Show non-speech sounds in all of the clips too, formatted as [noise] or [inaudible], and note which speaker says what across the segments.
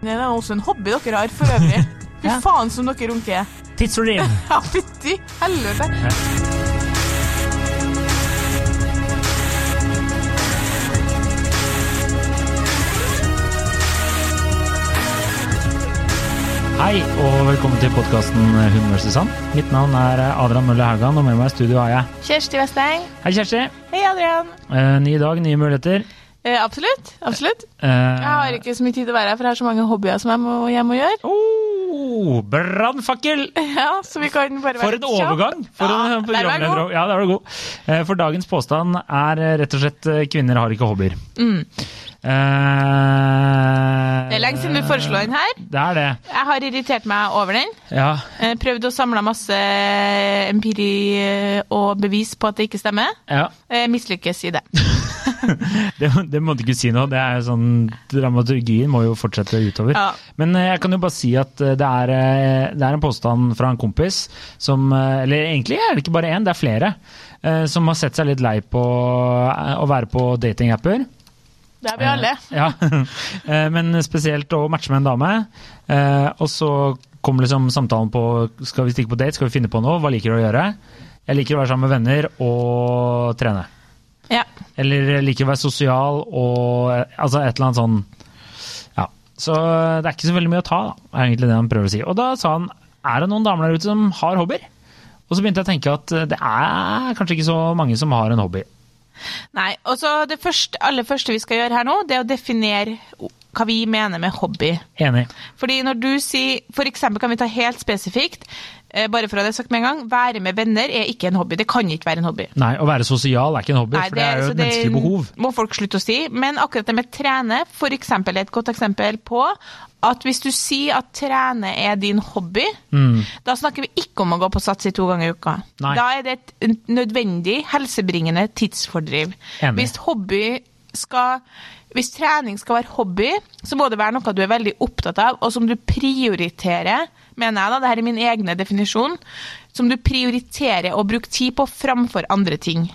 Speaker 1: Det er også en hobby dere har for
Speaker 2: [laughs]
Speaker 1: øvrig. Fy
Speaker 2: Ja.
Speaker 1: faen som dere runker.
Speaker 2: Tidsordin.
Speaker 1: [laughs] Ja, fytti helvete.
Speaker 2: Hei og velkommen til podkasten Hun versus han. Mitt navn er Adrian Mølle Haugan, og med meg i studio har jeg
Speaker 1: Kjersti Westeng.
Speaker 2: Hei, Kjersti.
Speaker 1: Hei, Adrian.
Speaker 2: Eh, ny dag, nye muligheter.
Speaker 1: Eh, absolutt. Absolutt.
Speaker 2: Eh,
Speaker 1: Jeg har ikke så mye tid til å være her, for jeg har så mange hobbyer som jeg må hjem og gjøre.
Speaker 2: oh, Brannfakkel!
Speaker 1: [laughs] Ja, så vi kan bare
Speaker 2: For
Speaker 1: være
Speaker 2: en
Speaker 1: litt kjapp.
Speaker 2: overgang! For
Speaker 1: Ja,
Speaker 2: en
Speaker 1: der var jeg
Speaker 2: programleder.
Speaker 1: god.
Speaker 2: Ja, der var du god. Eh, For dagens påstand er eh, rett og slett eh, kvinner har ikke hobbyer.
Speaker 1: Mm.
Speaker 2: Eh,
Speaker 1: Det er lenge siden du foreslo den her.
Speaker 2: Det er det.
Speaker 1: Jeg har irritert meg over den.
Speaker 2: Ja.
Speaker 1: Eh, Prøvd å samle masse eh, empiri eh, og bevis på at det ikke stemmer.
Speaker 2: ja.
Speaker 1: Eh, Mislykkes i det.
Speaker 2: Det, det må du ikke si nå. Det er jo sånn, dramaturgien må jo fortsette utover.
Speaker 1: Ja.
Speaker 2: Men eh, jeg kan jo bare si at eh, det er, eh, det er en påstand fra en kompis som eh, Eller egentlig er det ikke bare én, det er flere. eh, Som har sett seg litt lei på eh, å være på datingapper.
Speaker 1: Det er vi alle.
Speaker 2: Eh, [laughs] Ja. Eh, Men spesielt å matche med en dame. Eh, Og så kommer liksom samtalen på Skal vi stikke på date? Skal vi finne på noe? Hva liker du å gjøre? Jeg liker å være sammen med venner og trene.
Speaker 1: Ja.
Speaker 2: Eller liker å være sosial og eh, altså et eller annet sånn Ja. Så eh, det er ikke så veldig mye å ta, da, er egentlig det han prøver å si. Og da sa han er det noen damer der ute som har hobbyer? Og så begynte jeg å tenke at eh, det er kanskje ikke så mange som har en hobby.
Speaker 1: Nei, og så det første, aller første vi skal gjøre her nå, det er å definere hva vi mener med hobby.
Speaker 2: Enig.
Speaker 1: Fordi når du sier, for eksempel kan vi ta helt spesifikt, eh, bare for å ha det sagt med en gang, være med venner er ikke en hobby. Det kan ikke være en hobby.
Speaker 2: Nei, å være sosial er ikke en hobby,
Speaker 1: Nei,
Speaker 2: for det er jo
Speaker 1: så
Speaker 2: et menneskelig behov.
Speaker 1: må folk slutte å si. Men akkurat det med trene for eksempel, er et godt eksempel på at hvis du sier at trene er din hobby, da snakker vi ikke om å gå på Satsi to ganger i uka.
Speaker 2: Mm. Nei.
Speaker 1: Da er det et nødvendig helsebringende tidsfordriv.
Speaker 2: Enig.
Speaker 1: Hvis hobby skal hvis trening skal være hobby, så må det være noe du er veldig opptatt av, og som du prioriterer, mener jeg da, det her er min egne definisjon, som du prioriterer å bruke tid på framfor andre ting.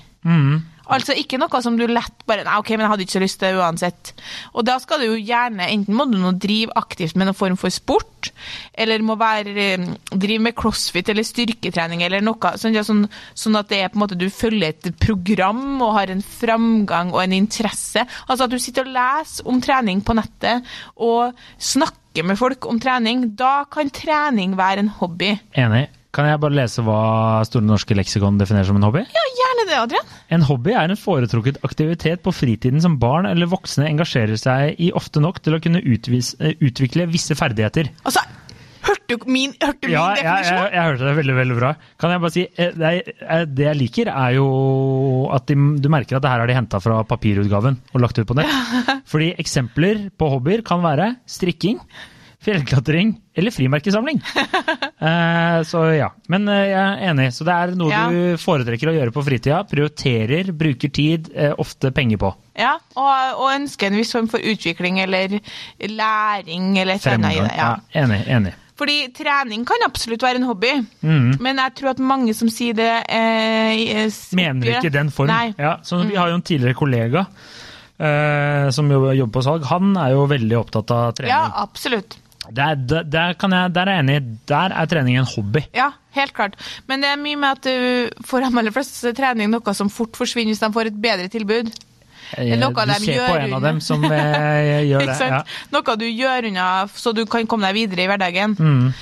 Speaker 1: Altså ikke noe som du lett bare Nei, OK, men jeg hadde ikke så lyst til det uansett. Og da skal du jo gjerne Enten må du nå drive aktivt med noen form for sport, eller må være eh, drive med crossfit eller styrketrening eller noe, sånn, ja, sånn, sånn at det er på en måte du følger et program og har en framgang og en interesse. Altså at du sitter og leser om trening på nettet og snakker med folk om trening. Da kan trening være en hobby.
Speaker 2: Enig. Kan jeg bare lese hva Store norske leksikon definerer som en hobby?
Speaker 1: Ja, gjerne det, Adrian.
Speaker 2: En hobby er en foretrukket aktivitet på fritiden som barn eller voksne engasjerer seg i ofte nok til å kunne utvis, eh, utvikle visse ferdigheter.
Speaker 1: Altså, hørte du min, hørte du min
Speaker 2: Ja, jeg,
Speaker 1: definisjon?
Speaker 2: jeg, jeg hørte det veldig veldig bra. Kan jeg bare si, eh, Det jeg, eh, det jeg liker, er jo at de, du merker at det her har de henta fra papirutgaven og lagt ut
Speaker 1: [laughs]
Speaker 2: på nett. Fordi eksempler på hobbyer kan være strikking, fjellklatring eller
Speaker 1: [laughs]
Speaker 2: frimerkesamling. Eh, så ja. Men eh, jeg er enig. Så det er noe
Speaker 1: Ja.
Speaker 2: du foretrekker å gjøre på fritida. Prioriterer, bruker tid, eh, ofte penger på.
Speaker 1: Ja, og, og ønske en viss form for utvikling eller læring eller et eller annet i
Speaker 2: Fremgang.
Speaker 1: det. Ja.
Speaker 2: Ja, enig. enig.
Speaker 1: Fordi trening kan absolutt være en hobby,
Speaker 2: Mhm.
Speaker 1: men jeg tror at mange som sier det eh, s-
Speaker 2: Mener ikke den form.
Speaker 1: Nei. Mm.
Speaker 2: Ja, så vi har jo en tidligere kollega eh, som jo- jobber på salg. Han er jo veldig opptatt av
Speaker 1: Ja,
Speaker 2: trening.
Speaker 1: absolutt.
Speaker 2: Der, der, der, kan jeg, der er jeg enig. Der er trening en hobby.
Speaker 1: Ja, helt klart. Men det er mye med at du for de aller fleste så er trening noe som fort forsvinner hvis de får et bedre tilbud.
Speaker 2: Eh,
Speaker 1: er noe
Speaker 2: Du
Speaker 1: de
Speaker 2: ser på
Speaker 1: gjør
Speaker 2: en av
Speaker 1: under.
Speaker 2: dem som eh,
Speaker 1: [laughs]
Speaker 2: gjør
Speaker 1: Ikke
Speaker 2: det. Ja.
Speaker 1: sant? Noe du gjør unna så du kan komme deg videre i hverdagen.
Speaker 2: Mm.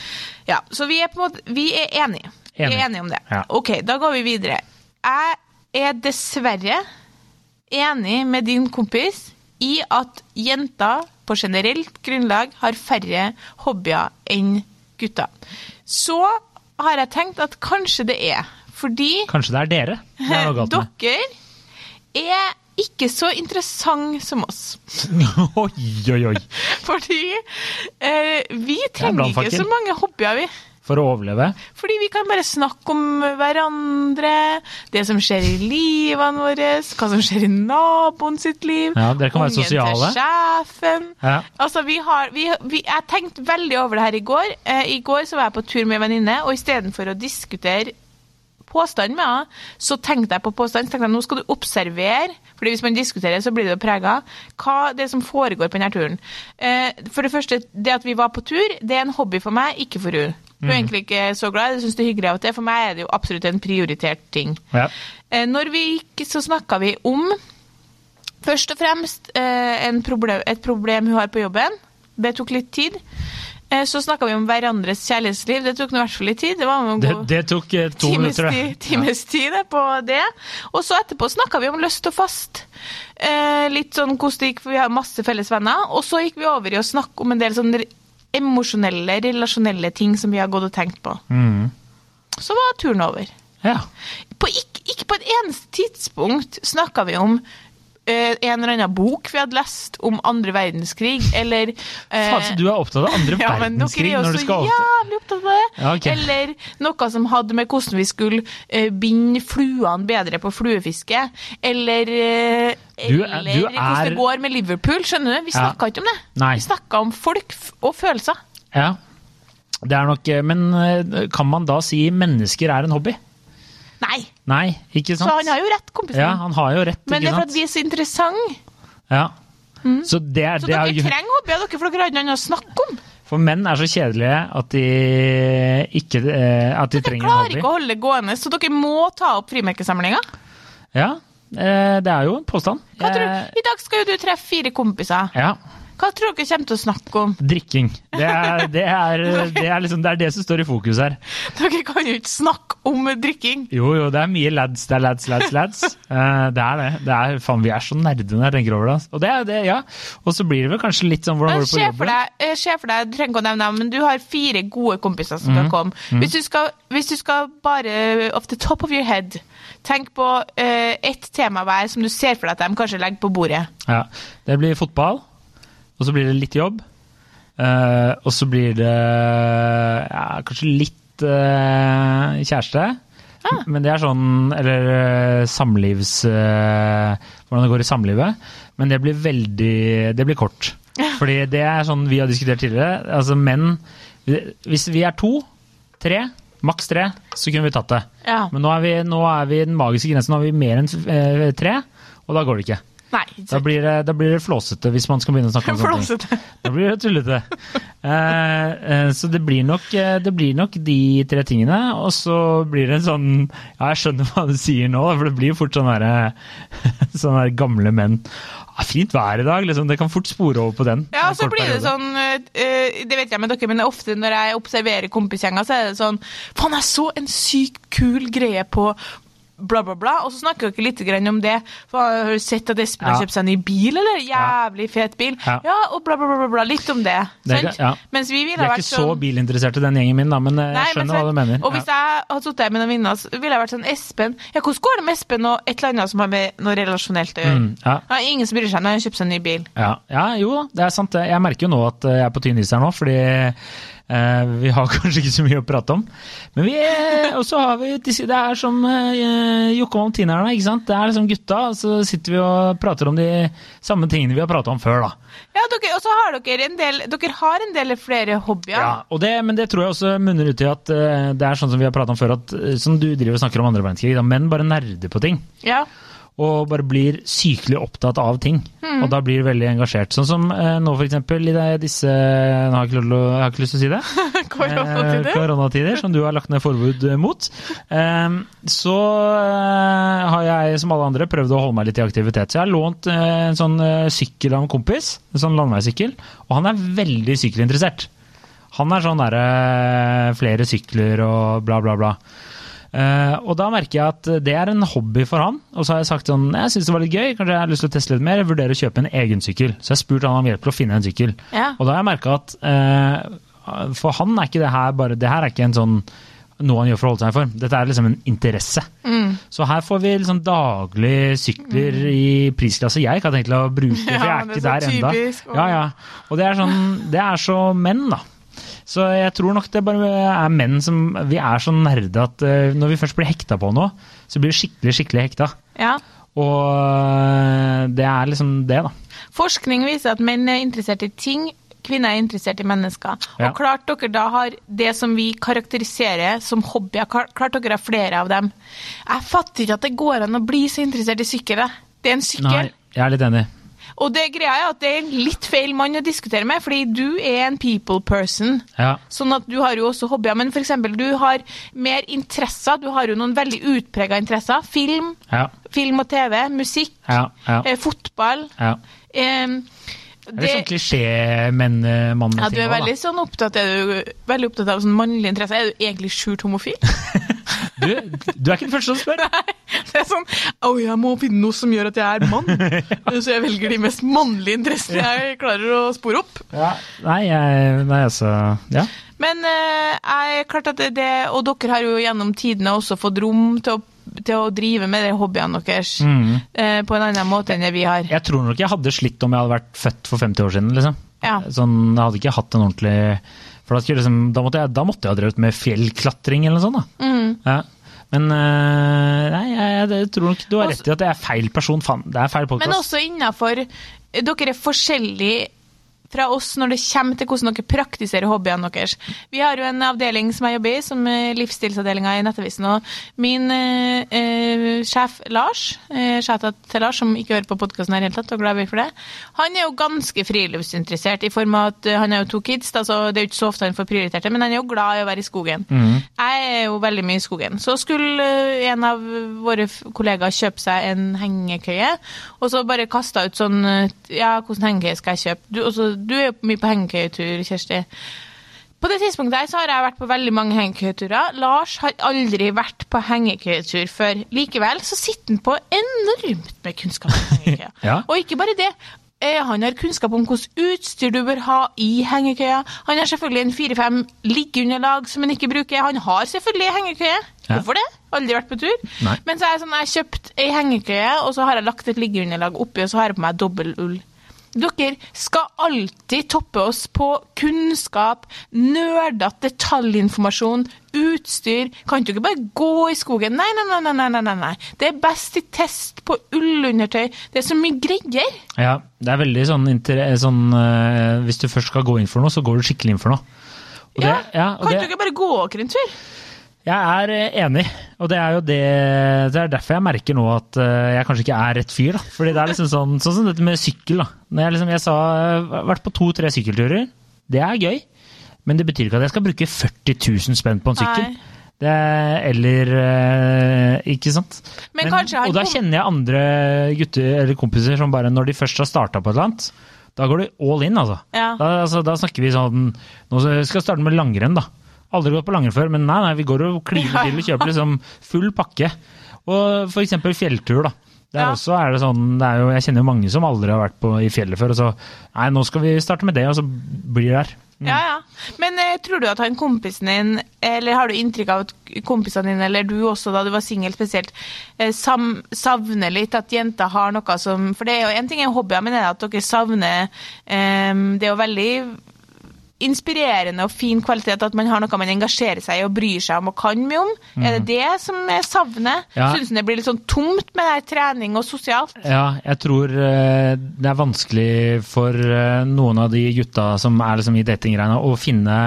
Speaker 1: Ja, Så vi er på en måte vi er enige. Vi er
Speaker 2: Enige.
Speaker 1: enige om det.
Speaker 2: Ja.
Speaker 1: OK, da går vi videre. Jeg er dessverre enig med din kompis i at jenter på generelt grunnlag har færre hobbyer enn gutter. Så har jeg tenkt at kanskje det er fordi
Speaker 2: Kanskje det er dere det er noe
Speaker 1: [laughs]
Speaker 2: galt med.
Speaker 1: dere er ikke så interessante som oss. [laughs]
Speaker 2: Oi, oi, oi.
Speaker 1: Fordi eh, vi trenger
Speaker 2: brannfakkel.
Speaker 1: ikke så mange hobbyer, vi.
Speaker 2: For å overleve.
Speaker 1: Fordi vi kan bare snakke om hverandre, det som skjer i livene våre, hva som skjer i naboen sitt liv,
Speaker 2: Ja, dere kan være sosiale.
Speaker 1: til sjefen.
Speaker 2: Ja.
Speaker 1: Altså, vi har, vi, vi, jeg tenkte veldig over det her i går. Eh, I går så var jeg på tur med en venninne, og istedenfor å diskutere påstand med henne, så tenkte jeg på påstand. Så tenkte jeg nå skal du observere, fordi hvis man diskuterer, så blir det jo prega. Hva det er som foregår på denne turen. Eh, for det første, det at vi var på tur, det er en hobby for meg, ikke for hun. Hun
Speaker 2: Mm.
Speaker 1: er egentlig ikke så glad, jeg syns det er hyggelig av og til. For meg er det jo absolutt en prioritert ting.
Speaker 2: Ja.
Speaker 1: Eh, Når vi gikk, så snakka vi om først og fremst eh, en proble- et problem hun har på jobben. Det tok litt tid. Eh, Så snakka vi om hverandres kjærlighetsliv. Det tok nå i hvert fall litt tid. Det var en
Speaker 2: Det,
Speaker 1: god
Speaker 2: det tok eh, to
Speaker 1: times, tid,
Speaker 2: minutter, det. Ja.
Speaker 1: times tid det, på det. Og så etterpå snakka vi om lyst og fast. Eh, litt sånn hvordan det gikk, for vi har masse felles venner. Og så gikk vi over i å snakke om en del sånne re- emosjonelle, relasjonelle ting som vi har gått og tenkt på.
Speaker 2: Mhm.
Speaker 1: Så var turen over.
Speaker 2: ja.
Speaker 1: På ikke, ikke på et eneste tidspunkt snakka vi om eh, en eller annen bok vi hadde lest om andre verdenskrig, eller eh,
Speaker 2: Faen, så du er opptatt av andre
Speaker 1: [laughs] ja, men dere
Speaker 2: verdenskrig
Speaker 1: er jo
Speaker 2: når du
Speaker 1: så
Speaker 2: skal over
Speaker 1: jævlig opptatt av det.
Speaker 2: Ja, ok.
Speaker 1: Eller noe som hadde med hvordan vi skulle eh, binde fluene bedre på fluefiske. Eller, eh,
Speaker 2: Du er-
Speaker 1: eller
Speaker 2: du
Speaker 1: hvordan
Speaker 2: er-
Speaker 1: det går med Liverpool. Skjønner du? Vi
Speaker 2: Ja.
Speaker 1: snakka ikke om det.
Speaker 2: Nei.
Speaker 1: Vi snakka om folk f- og følelser.
Speaker 2: Ja. Det er nok eh, Men eh, kan man da si mennesker er en hobby?
Speaker 1: Nei!
Speaker 2: Nei, ikke
Speaker 1: Så
Speaker 2: sant?
Speaker 1: han har jo rett, kompisen.
Speaker 2: Ja, han har jo rett,
Speaker 1: men det
Speaker 2: ikke
Speaker 1: er for at
Speaker 2: sant?
Speaker 1: vi er så interessante.
Speaker 2: Ja. Så det er,
Speaker 1: Så
Speaker 2: det er
Speaker 1: dere
Speaker 2: jo
Speaker 1: trenger hobbyer, dere, for dere har ikke noe annet å snakke om.
Speaker 2: For menn er så kjedelige at de ikke eh, At de
Speaker 1: Dere
Speaker 2: trenger en
Speaker 1: klarer ikke
Speaker 2: hobby.
Speaker 1: å holde det gående, så dere må ta opp frimerkesamlinga.
Speaker 2: Ja, eh, det er jo en påstand.
Speaker 1: Hva tror
Speaker 2: Eh,
Speaker 1: du? I dag skal jo du treffe fire kompiser.
Speaker 2: Ja.
Speaker 1: Hva tror dere kommer til å snakke om? [laughs]
Speaker 2: Drikking. Det er det, er, det, er liksom, det er det som står i fokus her.
Speaker 1: Dere kan jo ikke snakke om drikking.
Speaker 2: Jo, jo, det er mye lads, det er lads, lads, lads. Eh, det er det. det er, faen, vi er så nerde når jeg tenker over det. altså. Og det er det, ja. Og så blir det vel kanskje litt sånn hvordan
Speaker 1: Men
Speaker 2: går det på
Speaker 1: Se for
Speaker 2: jobben?
Speaker 1: deg, eh, se for deg, du trenger ikke å nevne dem, men du har fire gode kompiser som
Speaker 2: Mhm.
Speaker 1: skal komme. Hvis du skal, hvis du skal bare eh, off the top of your head, tenk på eh, ett tema hver som du ser for deg at de kanskje legger på bordet.
Speaker 2: Ja. Det blir fotball, og så blir det litt jobb. eh, og så blir det ja, kanskje litt eh, kjæreste.
Speaker 1: Ah.
Speaker 2: Men det er sånn Eller eh, samlivs... eh, hvordan det går i samlivet. Men det blir veldig Det blir kort. Fordi det er sånn vi har diskutert tidligere. Altså menn Hvis vi er to, tre, maks tre, så kunne vi tatt det.
Speaker 1: Ja.
Speaker 2: Men nå er vi, nå er vi i den magiske grensen. Nå er vi mer enn eh, tre, og da går det ikke.
Speaker 1: Nei.
Speaker 2: Da blir, det, da blir det flåsete hvis man skal begynne å snakke om sånne ting.
Speaker 1: Flåsete.
Speaker 2: Da blir det tullete. Eh, eh, så det blir, nok, eh, det blir nok de tre tingene, og så blir det en sånn Ja, jeg skjønner hva du sier nå, for det blir fort sånn derre [laughs] Sånne der gamle menn. Ja, fint vær i dag, liksom. Det kan fort spore over på den.
Speaker 1: Ja,
Speaker 2: en
Speaker 1: og så
Speaker 2: kort
Speaker 1: blir det
Speaker 2: periode.
Speaker 1: sånn eh, Det vet jeg med dere, men ofte når jeg observerer kompisgjenger, så er det sånn Faen, jeg så en sykt kul greie på bla, bla, bla. Og så snakker dere litt grann om det. Faen, Har du sett at Espen har
Speaker 2: Ja.
Speaker 1: kjøpt seg en ny bil, eller?
Speaker 2: Ja.
Speaker 1: Jævlig fet bil.
Speaker 2: Ja.
Speaker 1: Ja, og bla, bla, bla, bla, bla. Litt om det.
Speaker 2: Det er
Speaker 1: sant?
Speaker 2: ikke- ja.
Speaker 1: Mens vi
Speaker 2: De
Speaker 1: ville
Speaker 2: er
Speaker 1: ha
Speaker 2: ikke
Speaker 1: vært
Speaker 2: så
Speaker 1: sånn
Speaker 2: bilinteresserte, den gjengen min, da, men eh, jeg
Speaker 1: Nei, men
Speaker 2: skjønner hva du
Speaker 1: sant.
Speaker 2: mener.
Speaker 1: Og hvis jeg hadde sittet her med noen venner, så ville jeg vært sånn Espen Ja, hvordan går det med Espen og et eller annet som har med noe relasjonelt å
Speaker 2: ja.
Speaker 1: gjøre?
Speaker 2: Mm, ja.
Speaker 1: Ja, ingen som bryr seg når han kjøper seg en ny bil.
Speaker 2: Ja, ja, jo da, det er sant. det. Jeg merker jo nå at eh, jeg er på tynn is her nå, fordi eh, vi har [laughs] kanskje ikke så mye å prate om. Men vi eh, Og så har vi dis- Det er som eh, Jokke og Tinerne, ikke sant. Det er liksom gutta, og så sitter vi og prater om de samme tingene vi har prata om før, da.
Speaker 1: Ja, dere, og så har dere en del Dere har en del flere hobbyer.
Speaker 2: Ja, og det, men det tror jeg også munner ut i at eh, det er sånn som vi har prata om før, at eh, som du driver og snakker om andre verdenskrig, da menn bare nerder på ting.
Speaker 1: Ja. [laughs]
Speaker 2: og bare blir sykelig opptatt av ting. Og da blir du veldig engasjert. Sånn som eh, nå for eksempel i det- disse Nå har jeg ikke, lov til å- jeg har ikke lyst til å si det. Eh,
Speaker 1: Koronatider.
Speaker 2: koronatider, som du har lagt ned forbud eh, mot. Eh, så eh, har jeg, som alle andre, prøvd å holde meg litt i aktivitet. Så jeg har lånt eh, en sånn eh, sykkel av en kompis, en sånn landeveissykkel, og han er veldig sykkelinteressert. Han er sånn derre eh, flere sykler og bla, bla, bla. Eh, og da merker jeg at det er en hobby for han. Og så har jeg sagt sånn, jeg syns det var litt gøy, kanskje jeg har lyst til å teste litt mer, jeg vurderer å kjøpe en egen sykkel. Så jeg har spurt han om hjelp til å finne en sykkel.
Speaker 1: Ja.
Speaker 2: Og da har jeg merka at eh, for han er ikke det her bare Det her er ikke en sånn noe han gjør for å holde seg i form. Dette er liksom en interesse. Så her får vi liksom daglig sykler i prisklasse jeg ikke har tenkt til å bruke, for jeg
Speaker 1: Ja, det er
Speaker 2: er ikke der
Speaker 1: så
Speaker 2: enda.
Speaker 1: typisk, og-
Speaker 2: Ja, ja. Og det er sånn Det er så menn, da. Så jeg tror nok det bare er menn som Vi er så nerde at eh, når vi først blir hekta på noe, så blir vi skikkelig, skikkelig hekta.
Speaker 1: Ja.
Speaker 2: Og eh, det er liksom det, da.
Speaker 1: Forskning viser at menn er interessert i ting kvinner er interessert i mennesker.
Speaker 2: Ja.
Speaker 1: Og klart dere da har det som vi karakteriserer som hobbyer, klart klart dere har flere av dem. Jeg fatter ikke at det går an å bli så interessert i sykkel. jeg. Det er en sykkel.
Speaker 2: Nei, jeg er litt enig.
Speaker 1: Og det greia er at det er en litt feil mann å diskutere med, fordi du er en people person.
Speaker 2: Ja.
Speaker 1: Sånn at du har jo også hobbyer, men f.eks. du har mer interesser. Du har jo noen veldig utprega interesser. Film,
Speaker 2: Ja.
Speaker 1: film og TV, musikk,
Speaker 2: Ja. Ja.
Speaker 1: eh, fotball.
Speaker 2: ja.
Speaker 1: Eh,
Speaker 2: Det er litt sånn eh, klisjé-mann-ting.
Speaker 1: ja, du er veldig sånn opptatt, er du veldig opptatt av sånn mannlige interesser. Er du egentlig skjult homofil? [laughs]
Speaker 2: Du, du er ikke den første som spør.
Speaker 1: Det er sånn Å, jeg må finne noe som gjør at jeg er
Speaker 2: [laughs]
Speaker 1: mann. Så jeg velger de mest mannlige interessene jeg klarer å spore opp.
Speaker 2: Nei, jeg, nei, altså Ja.
Speaker 1: Men eh, jeg, klart at det, det, og dere har jo gjennom tidene også fått rom til å, til å drive med de hobbyene deres
Speaker 2: Mm.
Speaker 1: eh, på en annen måte enn det vi har.
Speaker 2: Jeg tror nok jeg hadde slitt om jeg hadde vært født for 50 år siden. liksom.
Speaker 1: Ja.
Speaker 2: Sånn, Jeg hadde ikke hatt en ordentlig For da, skulle jeg liksom, da, måtte, jeg, da måtte jeg ha drevet med fjellklatring eller noe sånt.
Speaker 1: Mm.
Speaker 2: da. Ja. Men øh, nei, jeg, jeg, jeg tror nok du har
Speaker 1: Også-
Speaker 2: rett i at jeg er feil person. Faen, det er feil
Speaker 1: Men
Speaker 2: podkast.
Speaker 1: også innafor Dere er forskjellige fra oss når det kommer til hvordan dere praktiserer hobbyene deres. Vi har jo en avdeling som jeg jobber i, som eh, livsstilsavdelinga i Nettavisen. Og min eh, eh, sjef Lars, eh, shoutout til Lars, som ikke hører på podkasten her i det hele tatt, og glad vi er for det, han er jo ganske friluftsinteressert i form av at eh, han har jo to kids, da, så det er jo ikke så ofte han får prioritert det, men han er jo glad i å være i skogen. Jeg er jo veldig mye i skogen. Så skulle eh, en av våre f- kollegaer kjøpe seg en hengekøye, og så bare kasta ut sånn eh, Ja, hvordan hengekøye skal jeg kjøpe? Du, og så- du er jo mye på hengekøyetur, Kjersti. På det tidspunktet her så har jeg vært på veldig mange hengekøyeturer. Lars har aldri vært på hengekøyetur før. Likevel så sitter han på enormt med kunnskap om hengekøya.
Speaker 2: Ja.
Speaker 1: Og ikke bare det. eh, Han har kunnskap om hvilket utstyr du bør ha i hengekøya. Han har selvfølgelig en fire-fem liggeunderlag som han ikke bruker. Han har selvfølgelig hengekøye.
Speaker 2: Ja.
Speaker 1: Hvorfor det? Aldri vært på tur.
Speaker 2: Nei.
Speaker 1: Men så er jeg sånn, jeg har kjøpt ei hengekøye, og så har jeg lagt et liggeunderlag oppi, og så har jeg på meg dobbeltull. Dere skal alltid toppe oss på kunnskap, nerdete detaljinformasjon, utstyr. Kan ikke dere bare gå i skogen? Nei, nei, nei, nei, nei, nei, nei. Det er best i test på ullundertøy. Det er så mye greier.
Speaker 2: Ja, det er veldig sånn, inter sånn øh, Hvis du først skal gå inn for noe, så går du skikkelig inn for noe. Og
Speaker 1: Ja,
Speaker 2: det- ja, og
Speaker 1: kan
Speaker 2: det-
Speaker 1: ikke dere bare gå dere en tur?
Speaker 2: Jeg er eh, enig, og det er jo det Det er derfor jeg merker nå at eh, jeg kanskje ikke er rett fyr, da. Fordi det er liksom sånn, sånn som dette med sykkel, da. Når jeg liksom, jeg sa jeg har vært på to-tre sykkelturer. Det er gøy, men det betyr ikke at jeg skal bruke 40 000 spenn på en sykkel.
Speaker 1: Nei.
Speaker 2: Det, eller eh, Ikke sant?
Speaker 1: Men kanskje han
Speaker 2: og da
Speaker 1: kom-
Speaker 2: kjenner jeg andre gutter eller kompiser som bare når de først har starta på et eller annet, da går du all in, altså.
Speaker 1: Ja.
Speaker 2: Da, altså, da snakker vi sånn Nå skal jeg starte med langrenn, da. Aldri gått på langrenn før, men nei, nei, vi går og klyver til og kjøper liksom full pakke. Og for eksempel fjelltur, da. Der
Speaker 1: Ja.
Speaker 2: også er det sånn, det er jo, Jeg kjenner jo mange som aldri har vært på, i fjellet før, og så Nei, nå skal vi starte med det, og så blir det der.
Speaker 1: Ja, ja. Men eh, tror du at han kompisen din, eller har du inntrykk av at kompisene dine, eller du også da du var singel spesielt, eh, sam savner litt at jenter har noe som For det er jo en ting er hobbyer, men er det at dere savner eh, Det er jo veldig inspirerende og fin kvalitet at man har noe man engasjerer seg i og bryr seg om og kan mye om. Er det det som jeg savner?
Speaker 2: Mm. Ja.
Speaker 1: Synes Syns det blir litt sånn tomt med det her trening og sosialt?
Speaker 2: Ja, jeg tror eh, det er vanskelig for eh, noen av de gutta som er liksom i datinggreiene, å finne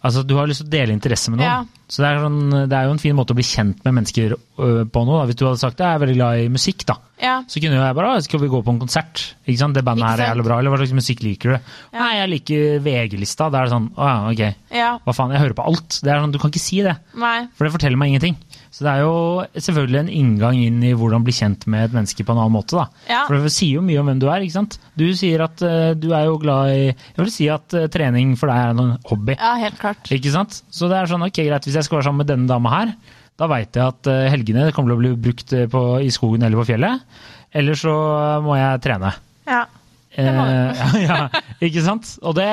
Speaker 2: Altså, du har lyst til å dele interesse med noen.
Speaker 1: Ja.
Speaker 2: Så det er, sånn, det er jo en fin måte å bli kjent med mennesker ø, på nå. Da. Hvis du hadde sagt jeg er veldig glad i musikk, da.
Speaker 1: Ja.
Speaker 2: Så kunne jo jeg bare «Å, skal vi gå på en konsert? Ikke sant? Det bandet
Speaker 1: Ikke
Speaker 2: her er
Speaker 1: sant?
Speaker 2: jævlig bra, eller hva slags musikk liker du?
Speaker 1: Ja.
Speaker 2: Nei, jeg liker VG-lista. Da er det sånn å ja, ok.
Speaker 1: Ja.
Speaker 2: Hva faen, jeg hører på alt. Det er sånn, du kan ikke si det.
Speaker 1: Nei.
Speaker 2: For det forteller meg ingenting. Så det er jo selvfølgelig en inngang inn i hvordan bli kjent med et menneske på en annen måte. Da.
Speaker 1: Ja.
Speaker 2: For det sier jo mye om hvem du er. ikke sant? Du sier at eh, du er jo glad i Jeg vil si at eh, trening for deg er en hobby.
Speaker 1: Ja, helt klart.
Speaker 2: Ikke sant? Så det er sånn, ok greit, hvis jeg skal være sammen med denne dama her, da veit jeg at eh, helgene kommer til å bli brukt eh, på, i skogen eller på fjellet. Eller så eh, må jeg trene.
Speaker 1: Ja. Det må du.
Speaker 2: Eh, [laughs] ja, ja, ikke sant? Og det,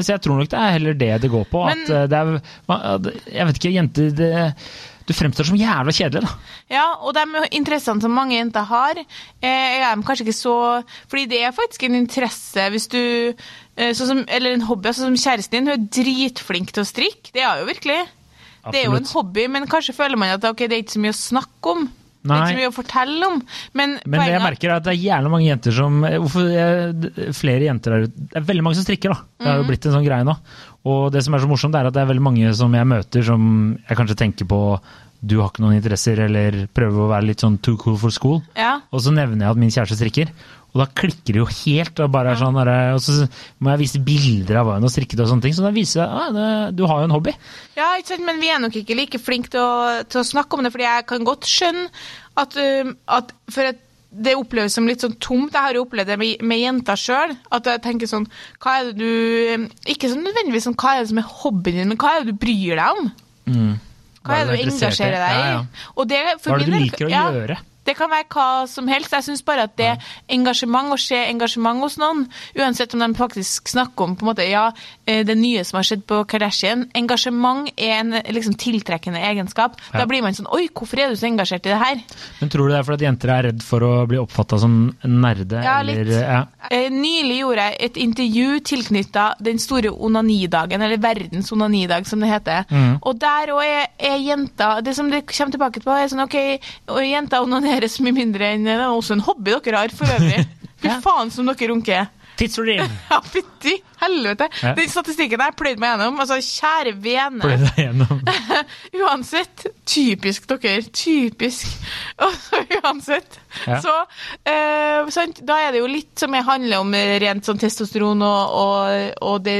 Speaker 2: så jeg tror nok det er heller det det går på.
Speaker 1: Men-
Speaker 2: at eh, det er, man- jeg vet ikke, jenter det, Du fremstår som jævla kjedelig, da.
Speaker 1: Ja, og de interessene som mange jenter har, eh, er de kanskje ikke så Fordi det er faktisk en interesse hvis du eh, sånn som, Eller en hobby. Sånn som kjæresten din, hun er dritflink til å strikke. Det er hun jo virkelig. Det er jo en
Speaker 2: Absolutt.
Speaker 1: hobby, men kanskje føler man at ok, det er ikke så mye å snakke om. Det er
Speaker 2: Nei.
Speaker 1: ikke så mye å fortelle om. Men,
Speaker 2: Men det jeg
Speaker 1: poenget-
Speaker 2: merker er at det er jævlig mange jenter som hvorfor, eh, d- Flere jenter der ute Det er veldig mange som strikker, da. Det
Speaker 1: Mhm.
Speaker 2: har jo blitt en sånn greie nå. Og det som er så morsomt, er at det er veldig mange som jeg møter som jeg kanskje tenker på Du har ikke noen interesser, eller prøver å være litt sånn too cool for school.
Speaker 1: ja.
Speaker 2: Og så nevner jeg at min kjæreste strikker. Og da klikker det jo helt. Og, bare er sånn, der, og så må jeg vise bilder av hva hun har strikket, og sånne ting. Så da viser jeg at ah, det- du har jo en hobby.
Speaker 1: ja, ikke sant, men vi er nok ikke like flinke til å, til å snakke om det, fordi jeg kan godt skjønne at, um, at for at det oppleves som litt sånn tomt. Jeg har jo opplevd det med, med jenta sjøl. At jeg tenker sånn Hva er det du um, Ikke sånn nødvendigvis sånn, hva er det som er hobbyen din, men hva er det du bryr deg om? Hva er det du
Speaker 2: interessert i?
Speaker 1: engasjerer deg i?
Speaker 2: Ja, ja.
Speaker 1: Og det, for
Speaker 2: Hva er det
Speaker 1: min del-
Speaker 2: du liker å gjøre?
Speaker 1: Det kan være hva som helst. Jeg syns bare at det engasjement, å se engasjement hos noen, uansett om de faktisk snakker om på en måte, ja, eh, det nye som har skjedd på Kardashian Engasjement er en liksom, tiltrekkende egenskap.
Speaker 2: Ja.
Speaker 1: Da blir man sånn Oi, hvorfor er du så engasjert i det her?
Speaker 2: Men tror du det er fordi at jenter er redd for å bli oppfatta som nerde?
Speaker 1: Ja,
Speaker 2: eller,
Speaker 1: litt.
Speaker 2: Ja.
Speaker 1: Eh, Nylig gjorde jeg et intervju tilknytta den store onanidagen, eller verdens onanidag, som det heter.
Speaker 2: Mhm.
Speaker 1: Og der òg er, er jenta Det som det kommer tilbake på, er sånn OK, og jenta onanerer så mye mindre enn Det er også en hobby dere har, for
Speaker 2: [laughs]
Speaker 1: øvrig. Fy
Speaker 2: Ja.
Speaker 1: faen som dere runker. [laughs]
Speaker 2: Tidsordin!
Speaker 1: Ja, fytti helvete.
Speaker 2: Ja.
Speaker 1: Den statistikken der pløyde meg gjennom. Altså, kjære vene.
Speaker 2: Pløy deg gjennom.
Speaker 1: [laughs] Uansett, typisk dere, typisk. [laughs] Og så uansett,
Speaker 2: Ja.
Speaker 1: så eh, sant? Da er det jo litt som jeg handler om eh, rent sånn testosteron og, og, og det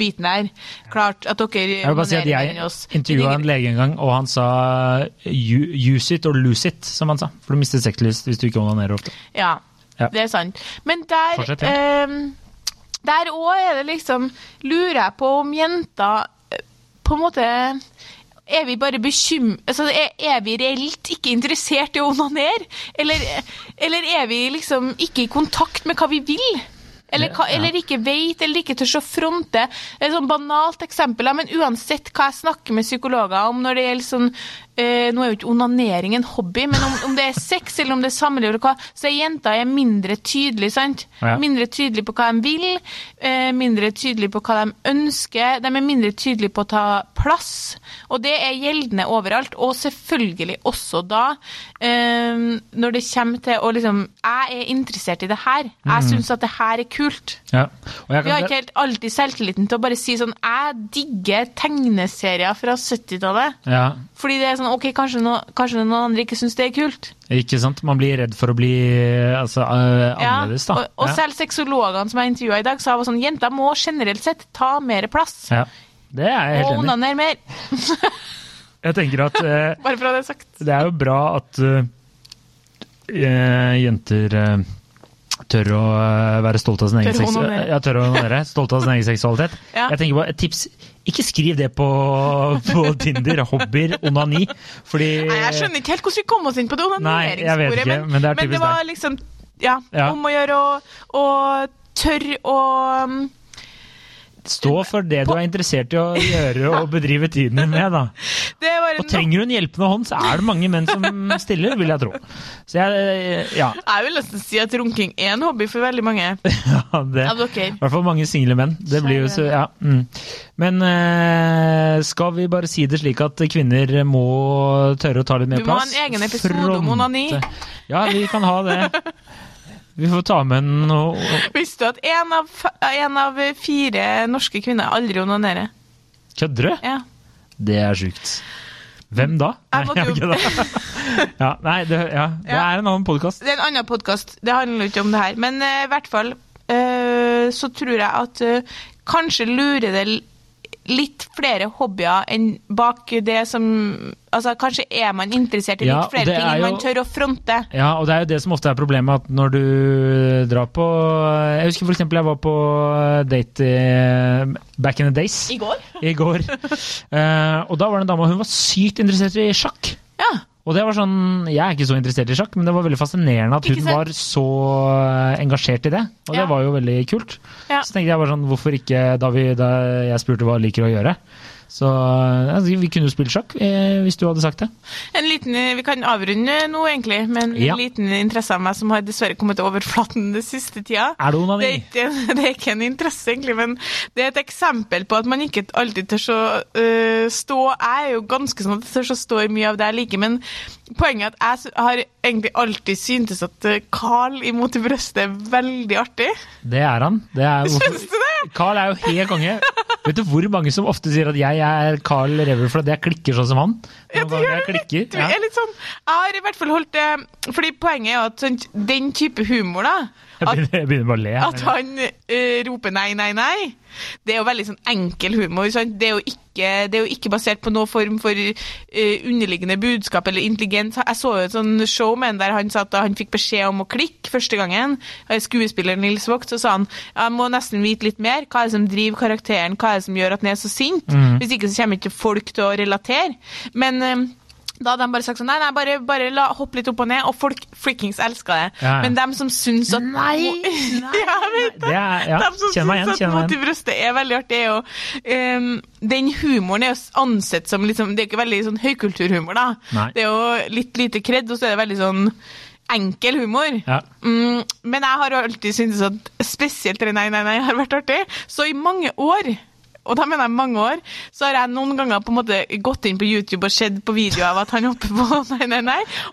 Speaker 1: biten der. Klart at dere
Speaker 2: Jeg vil bare si at
Speaker 1: onanerer
Speaker 2: jeg
Speaker 1: under oss.
Speaker 2: intervjua en
Speaker 1: Men ingen-
Speaker 2: lege en gang, og han sa "You- use it or lose it, som han sa. For du mister sexlyst hvis du ikke onanerer ofte.
Speaker 1: Ja,
Speaker 2: Ja.
Speaker 1: det er sant. Men der
Speaker 2: Fortsett,
Speaker 1: eh, Der òg er det liksom Lurer jeg på om jenter eh, på en måte er vi bare bekym... Altså, er, er vi reelt ikke interessert i å onanere? Eller, eller er vi liksom ikke i kontakt med hva vi vil? Eller, hva,
Speaker 2: Ja.
Speaker 1: eller ikke vet, eller ikke tør å fronte. Det er Et sånn banalt eksempel, ja, men uansett hva jeg snakker med psykologer om når det gjelder sånn eh, Nå er jo ikke onanering en hobby, men om, om det er sex eller om det er samliv, eller hva, så er jenter er mindre tydelige, sant?
Speaker 2: Ja.
Speaker 1: Mindre tydelige på hva de vil, eh, mindre tydelige på hva de ønsker. De er mindre tydelige på å ta plass, og det er gjeldende overalt. Og selvfølgelig også da, eh, når det kommer til å liksom Jeg er interessert i det her.
Speaker 2: Mm.
Speaker 1: Jeg syns at det her er kult.
Speaker 2: Ja. Og jeg
Speaker 1: Vi har
Speaker 2: kan,
Speaker 1: ikke helt alltid selvtilliten til å bare si sånn Jeg digger tegneserier fra 70-tallet.
Speaker 2: ja,
Speaker 1: Fordi det er sånn OK, kanskje, no, kanskje noen andre ikke syns det er kult.
Speaker 2: ikke sant? Man blir redd for å bli altså, eh,
Speaker 1: Ja,
Speaker 2: annerledes, da.
Speaker 1: og, og
Speaker 2: Ja.
Speaker 1: selv sexologene som jeg intervjua i dag, sa var sånn Jenter må generelt sett ta mer plass.
Speaker 2: ja. Det er jeg
Speaker 1: Og
Speaker 2: helt enig i.
Speaker 1: onanere mer.
Speaker 2: Jeg tenker at eh,
Speaker 1: Bare for å ha det sagt.
Speaker 2: Det er jo bra at eh, jenter eh, tør å eh, være stolt av sin egen
Speaker 1: Tør å
Speaker 2: seks-
Speaker 1: onanere.
Speaker 2: Ja, tør å onanere.
Speaker 1: [laughs]
Speaker 2: Stolt av sin egen seksualitet.
Speaker 1: Ja.
Speaker 2: Jeg tenker bare, et tips, ikke skriv det på, på Tinder. Hobbyer, onani. Fordi
Speaker 1: Nei, jeg skjønner ikke helt hvordan vi kom oss inn på det
Speaker 2: Nei, jeg vet
Speaker 1: onaneringssporet,
Speaker 2: ikke, men det er
Speaker 1: men det
Speaker 2: typisk
Speaker 1: var liksom ja,
Speaker 2: Ja.
Speaker 1: om å gjøre å, å tørre å um,
Speaker 2: Stå for det du er interessert i å gjøre og bedrive tiden din med, da.
Speaker 1: Det var
Speaker 2: Og
Speaker 1: en
Speaker 2: trenger du en hjelpende hånd, så er det mange menn som stiller, vil jeg tro. Så jeg, eh, ja, [laughs]
Speaker 1: Jeg vil nesten si at runking er en hobby for veldig mange
Speaker 2: ja det.
Speaker 1: av dere.
Speaker 2: I hvert fall mange single menn. Det blir jo så, ja. mm. Men eh, skal vi bare si det slik at kvinner må tørre å ta litt mer
Speaker 1: Du må ha
Speaker 2: plass?
Speaker 1: en egen episode om
Speaker 2: Fronte.
Speaker 1: onani.
Speaker 2: Ja, vi kan ha
Speaker 1: [laughs]
Speaker 2: det. Vi får ta med noe
Speaker 1: Visste du at én av, f- en av fire norske kvinner aldri onanerer?
Speaker 2: Kødder du?
Speaker 1: Ja.
Speaker 2: Det er sjukt. Hvem da?
Speaker 1: Jeg måtte jo-
Speaker 2: Nei, jeg
Speaker 1: [laughs]
Speaker 2: kødder. ja, nei, det, ja. det
Speaker 1: Ja.
Speaker 2: er en annen podkast.
Speaker 1: Det er en annen podkast, det handler jo ikke om det her. Men eh, i hvert fall eh, så tror jeg at eh, kanskje lurer det l- litt flere hobbyer enn bak det som Altså kanskje er man interessert i litt
Speaker 2: Ja, og
Speaker 1: flere
Speaker 2: det
Speaker 1: ting
Speaker 2: er
Speaker 1: enn
Speaker 2: jo-
Speaker 1: man tør å fronte.
Speaker 2: Ja, og det er jo det som ofte er problemet, at når du eh, drar på eh, Jeg husker f.eks. jeg var på eh, date i Back in the days.
Speaker 1: I går?
Speaker 2: i
Speaker 1: [laughs]
Speaker 2: går. Eh, og da var det en dame, og hun var sykt interessert i sjakk.
Speaker 1: Ja.
Speaker 2: Og det var sånn, Jeg er ikke så interessert i sjakk, men det var veldig fascinerende at
Speaker 1: Ikke
Speaker 2: hun
Speaker 1: sant?
Speaker 2: var så eh, engasjert i det. Og
Speaker 1: Ja.
Speaker 2: det var jo veldig kult.
Speaker 1: Ja.
Speaker 2: Så tenkte jeg bare sånn, hvorfor ikke da, vi, da jeg spurte hva hun liker å gjøre, Så eh, altså, vi kunne jo spilt sjakk eh, hvis du hadde sagt det.
Speaker 1: En liten, eh, vi kan avrunde nå, egentlig, men
Speaker 2: Ja.
Speaker 1: en liten interesse av meg som har dessverre kommet til overflaten den siste tida. Det
Speaker 2: Er det
Speaker 1: er,
Speaker 2: onani?
Speaker 1: ikke, det er ikke en [laughs] interesse, egentlig, men det er et eksempel på at man ikke alltid tør å øh, stå Jeg er jo ganske sånn at jeg tør å stå i mye av det jeg liker, men poenget er at jeg sy- har egentlig alltid syntes at øh, Carl imot i brøstet er veldig artig. [laughs]
Speaker 2: Det er han. Det er,
Speaker 1: Syns du det?
Speaker 2: Carl er jo helt konge. Vet du hvor mange som ofte sier at jeg er Carl Rever fordi jeg klikker sånn som han?
Speaker 1: Ja, du gjør
Speaker 2: Jeg
Speaker 1: det litt.
Speaker 2: klikker,
Speaker 1: Du
Speaker 2: ja.
Speaker 1: er litt sånn Jeg har i hvert fall holdt det Fordi poenget er jo at sånn, den type humor, da
Speaker 2: Jeg
Speaker 1: at
Speaker 2: begynner, jeg begynner bare å le.
Speaker 1: At han eh, roper nei, nei, nei. Det er jo veldig sånn enkel humor. Sant? Det, er jo ikke, det er jo ikke basert på noen form for eh, underliggende budskap eller intelligens. Jeg så jo et sånn show med en der han sa at da han fikk beskjed om å klikke første gangen, eh, skuespilleren Nils Vogt, så sa han jeg må nesten vite litt mer. Hva er det som driver karakteren? Hva er det som gjør at den er så sint?
Speaker 2: Mhm.
Speaker 1: Hvis ikke så kommer ikke folk til å relatere. Men eh, da hadde de bare sagt sånn Nei, nei, bare, bare la, hopp litt opp og ned. Og folk frikkings elska det.
Speaker 2: Ja, ja.
Speaker 1: Men dem som syns at
Speaker 2: Nei,
Speaker 1: [laughs]
Speaker 2: nei,
Speaker 1: ja, jeg vet
Speaker 2: Det er, ja,
Speaker 1: de som
Speaker 2: kjenn meg igjen.
Speaker 1: syns at
Speaker 2: Kjenn meg
Speaker 1: Matti
Speaker 2: igjen.
Speaker 1: Brøste er veldig artig, er jo ehm, Den humoren er jo ansett som liksom, Det er ikke veldig sånn høykulturhumor, da.
Speaker 2: Nei.
Speaker 1: Det er jo litt lite kred, og så er det veldig sånn enkel humor.
Speaker 2: Ja.
Speaker 1: Mm, men jeg har jo alltid syntes at spesielt det Nei, nei, nei har vært artig. Så i mange år og da mener jeg mange år, så har jeg noen ganger på en måte gått inn på YouTube og sett på videoer av at han hopper på [laughs] nei, nei, nei,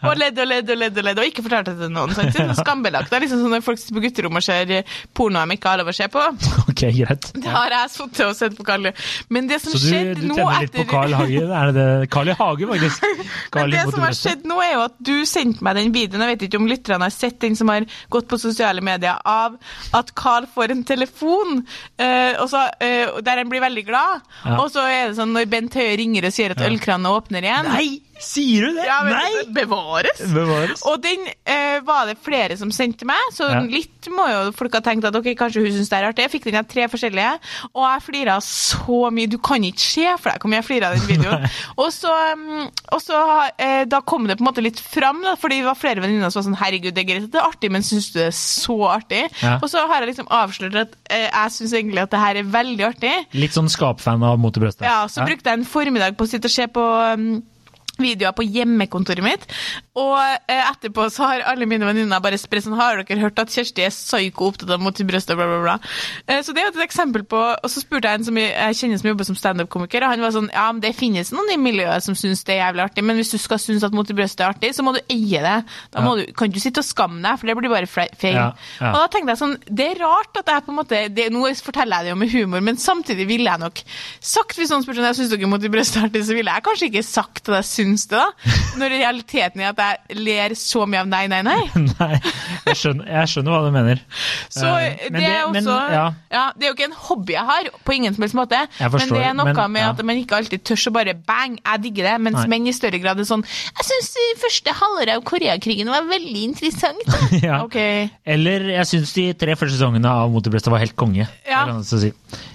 Speaker 1: og ledd og ledd og ledd og ledd, og ikke fortalt det til noen. Sant? Det er sånn skambelagt. Det er liksom sånn når folk sitter på gutterommet og ser eh, porno de ikke har lov å se på. [laughs]
Speaker 2: [laughs] Ok, greit.
Speaker 1: Det har jeg sittet og sett på Karl. Men det som
Speaker 2: Så du,
Speaker 1: skjedde
Speaker 2: du
Speaker 1: nå
Speaker 2: tenner litt
Speaker 1: etter
Speaker 2: på Carl Hagen? Er det det? Carl I. Hagen,
Speaker 1: [laughs]
Speaker 2: faktisk.
Speaker 1: Men
Speaker 2: Carl
Speaker 1: det
Speaker 2: imot
Speaker 1: som har
Speaker 2: Rødtø.
Speaker 1: skjedd nå, er jo at du sendte meg den videoen. Jeg vet ikke om lytterne har sett den som har gått på sosiale medier, av at Carl får en telefon eh, og så, eh, der han blir veldig glad.
Speaker 2: Ja.
Speaker 1: Og så er det sånn når Bent Høie ringer og sier at ølkranene åpner igjen.
Speaker 2: Nei! Sier du det?
Speaker 1: Ja, men
Speaker 2: Nei!
Speaker 1: Bevares!
Speaker 2: Bevares.
Speaker 1: Og den eh, var det flere som sendte meg, så
Speaker 2: Ja.
Speaker 1: litt må jo folk ha tenkt at ok, kanskje hun syns det er artig. Jeg fikk den av tre forskjellige, og jeg flira så mye. Du kan ikke se for deg hvor mye jeg flira av den
Speaker 2: [laughs]
Speaker 1: videoen. og så, um, og så eh, da kom det på en måte litt fram, da, fordi det var flere venninner som var sånn herregud, det er greit at det er artig, men syns du det er så artig?
Speaker 2: Ja.
Speaker 1: Og så har jeg liksom avslørt at eh, jeg syns egentlig at det her er veldig artig.
Speaker 2: Litt sånn skapfan av Mot i brøstet.
Speaker 1: Ja, så brukte jeg en formiddag på å sitte og se på um, videoer på hjemmekontoret mitt. Og eh, etterpå så har alle mine venninner bare spredt sånn Har dere hørt at Kjersti er psyko opptatt av mot i brystet, bla, bla, bla. Eh, så det er jo et eksempel på Og så spurte jeg en som jeg- jeg kjenner som jobber som standup-komiker, og han var sånn Ja, men det finnes noen i miljøet som syns det er jævlig artig, men hvis du skal synes at mot i brystet er artig, så må du eie det. Da må
Speaker 2: Ja.
Speaker 1: du, kan du sitte og skamme deg, for det blir bare fle- feil.
Speaker 2: Ja, ja.
Speaker 1: Og da tenkte jeg sånn, det er rart at jeg på en måte det, Nå forteller jeg det jo med humor, men samtidig ville jeg nok sagt Hvis noen spurte om jeg syns dere mot i brystartig, så ville jeg kanskje ikke sagt at jeg syns det, da.
Speaker 2: [laughs]
Speaker 1: Når realiteten er at jeg ler så mye av nei, nei, nei.
Speaker 2: [laughs] Nei, jeg skjønner, jeg skjønner hva du mener. [laughs]
Speaker 1: Så
Speaker 2: Eh,
Speaker 1: det,
Speaker 2: men
Speaker 1: er også
Speaker 2: men, ja,
Speaker 1: ja, Det er jo ikke en hobby jeg har, på ingen som helst måte,
Speaker 2: Jeg
Speaker 1: men
Speaker 2: forstår,
Speaker 1: det er noe
Speaker 2: men-
Speaker 1: med
Speaker 2: ja.
Speaker 1: at man ikke alltid tør å bare bang, jeg digger det, mens
Speaker 2: Nei.
Speaker 1: menn i større grad er sånn Jeg syns første halvår av Koreakrigen var veldig interessant.
Speaker 2: [laughs] Ja.
Speaker 1: Ok.
Speaker 2: Eller jeg syns de tre første sesongene av Mot i brøstet var helt konge. Det
Speaker 1: Ja.
Speaker 2: kan jeg også si.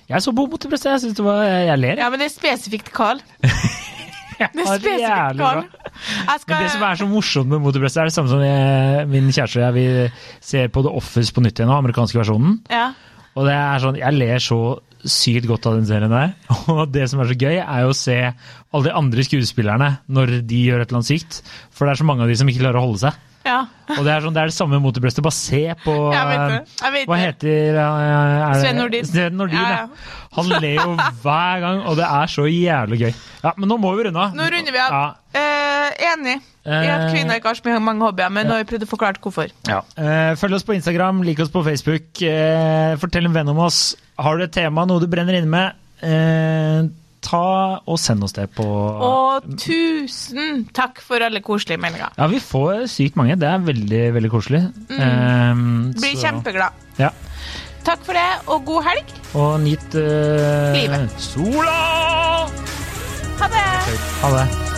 Speaker 2: Jeg så på Mot i brøstet, jeg synes det var Jeg ler,
Speaker 1: Ja, men det er spesifikt Carl.
Speaker 2: jeg.
Speaker 1: Det er
Speaker 2: Var jævlig
Speaker 1: spesifikt
Speaker 2: bra.
Speaker 1: Carl. Jeg skal,
Speaker 2: Men det som er så morsomt med Mot i brøstet, er det samme som jeg, min kjæreste og jeg vi ser på The Office på nytt igjen, den amerikanske versjonen.
Speaker 1: ja.
Speaker 2: Og det er sånn, Jeg ler så sykt godt av den serien der. [laughs] Og det som er så gøy, er jo å se alle de andre skuespillerne når de gjør et eller annet sykt. For det er så mange av de som ikke klarer å holde seg.
Speaker 1: Ja.
Speaker 2: Og det er, sånn, det, er det samme mot det brøstet. Bare se på
Speaker 1: [laughs] Jeg vet det. Jeg vet
Speaker 2: Hva
Speaker 1: det.
Speaker 2: heter eh, er det-
Speaker 1: Sven Nordin.
Speaker 2: Sven Nordin,
Speaker 1: Ja,
Speaker 2: ja,
Speaker 1: ja.
Speaker 2: Han ler jo hver gang, og det er så jævlig gøy. Ja, Men nå må vi runde av.
Speaker 1: Nå runder vi av.
Speaker 2: Ja.
Speaker 1: Eh, enig i at
Speaker 2: Eh,
Speaker 1: kvinner ikke har så mye- mange hobbyer, men nå har vi prøvd å forklare hvorfor.
Speaker 2: Eh, følg oss på Instagram, lik oss på Facebook. eh, fortell en venn om oss. Har du et tema, noe du brenner inne med, eh, ta og send oss det på
Speaker 1: Og tusen takk for alle koselige meldinger.
Speaker 2: Ja, vi får sykt mange. Det er veldig, veldig koselig. Eh,
Speaker 1: Mm. Blir
Speaker 2: så-
Speaker 1: kjempeglad.
Speaker 2: Ja.
Speaker 1: Takk for det, og god helg.
Speaker 2: Og nyt eh,
Speaker 1: Livet.
Speaker 2: sola!
Speaker 1: Ha det!
Speaker 2: Ha det.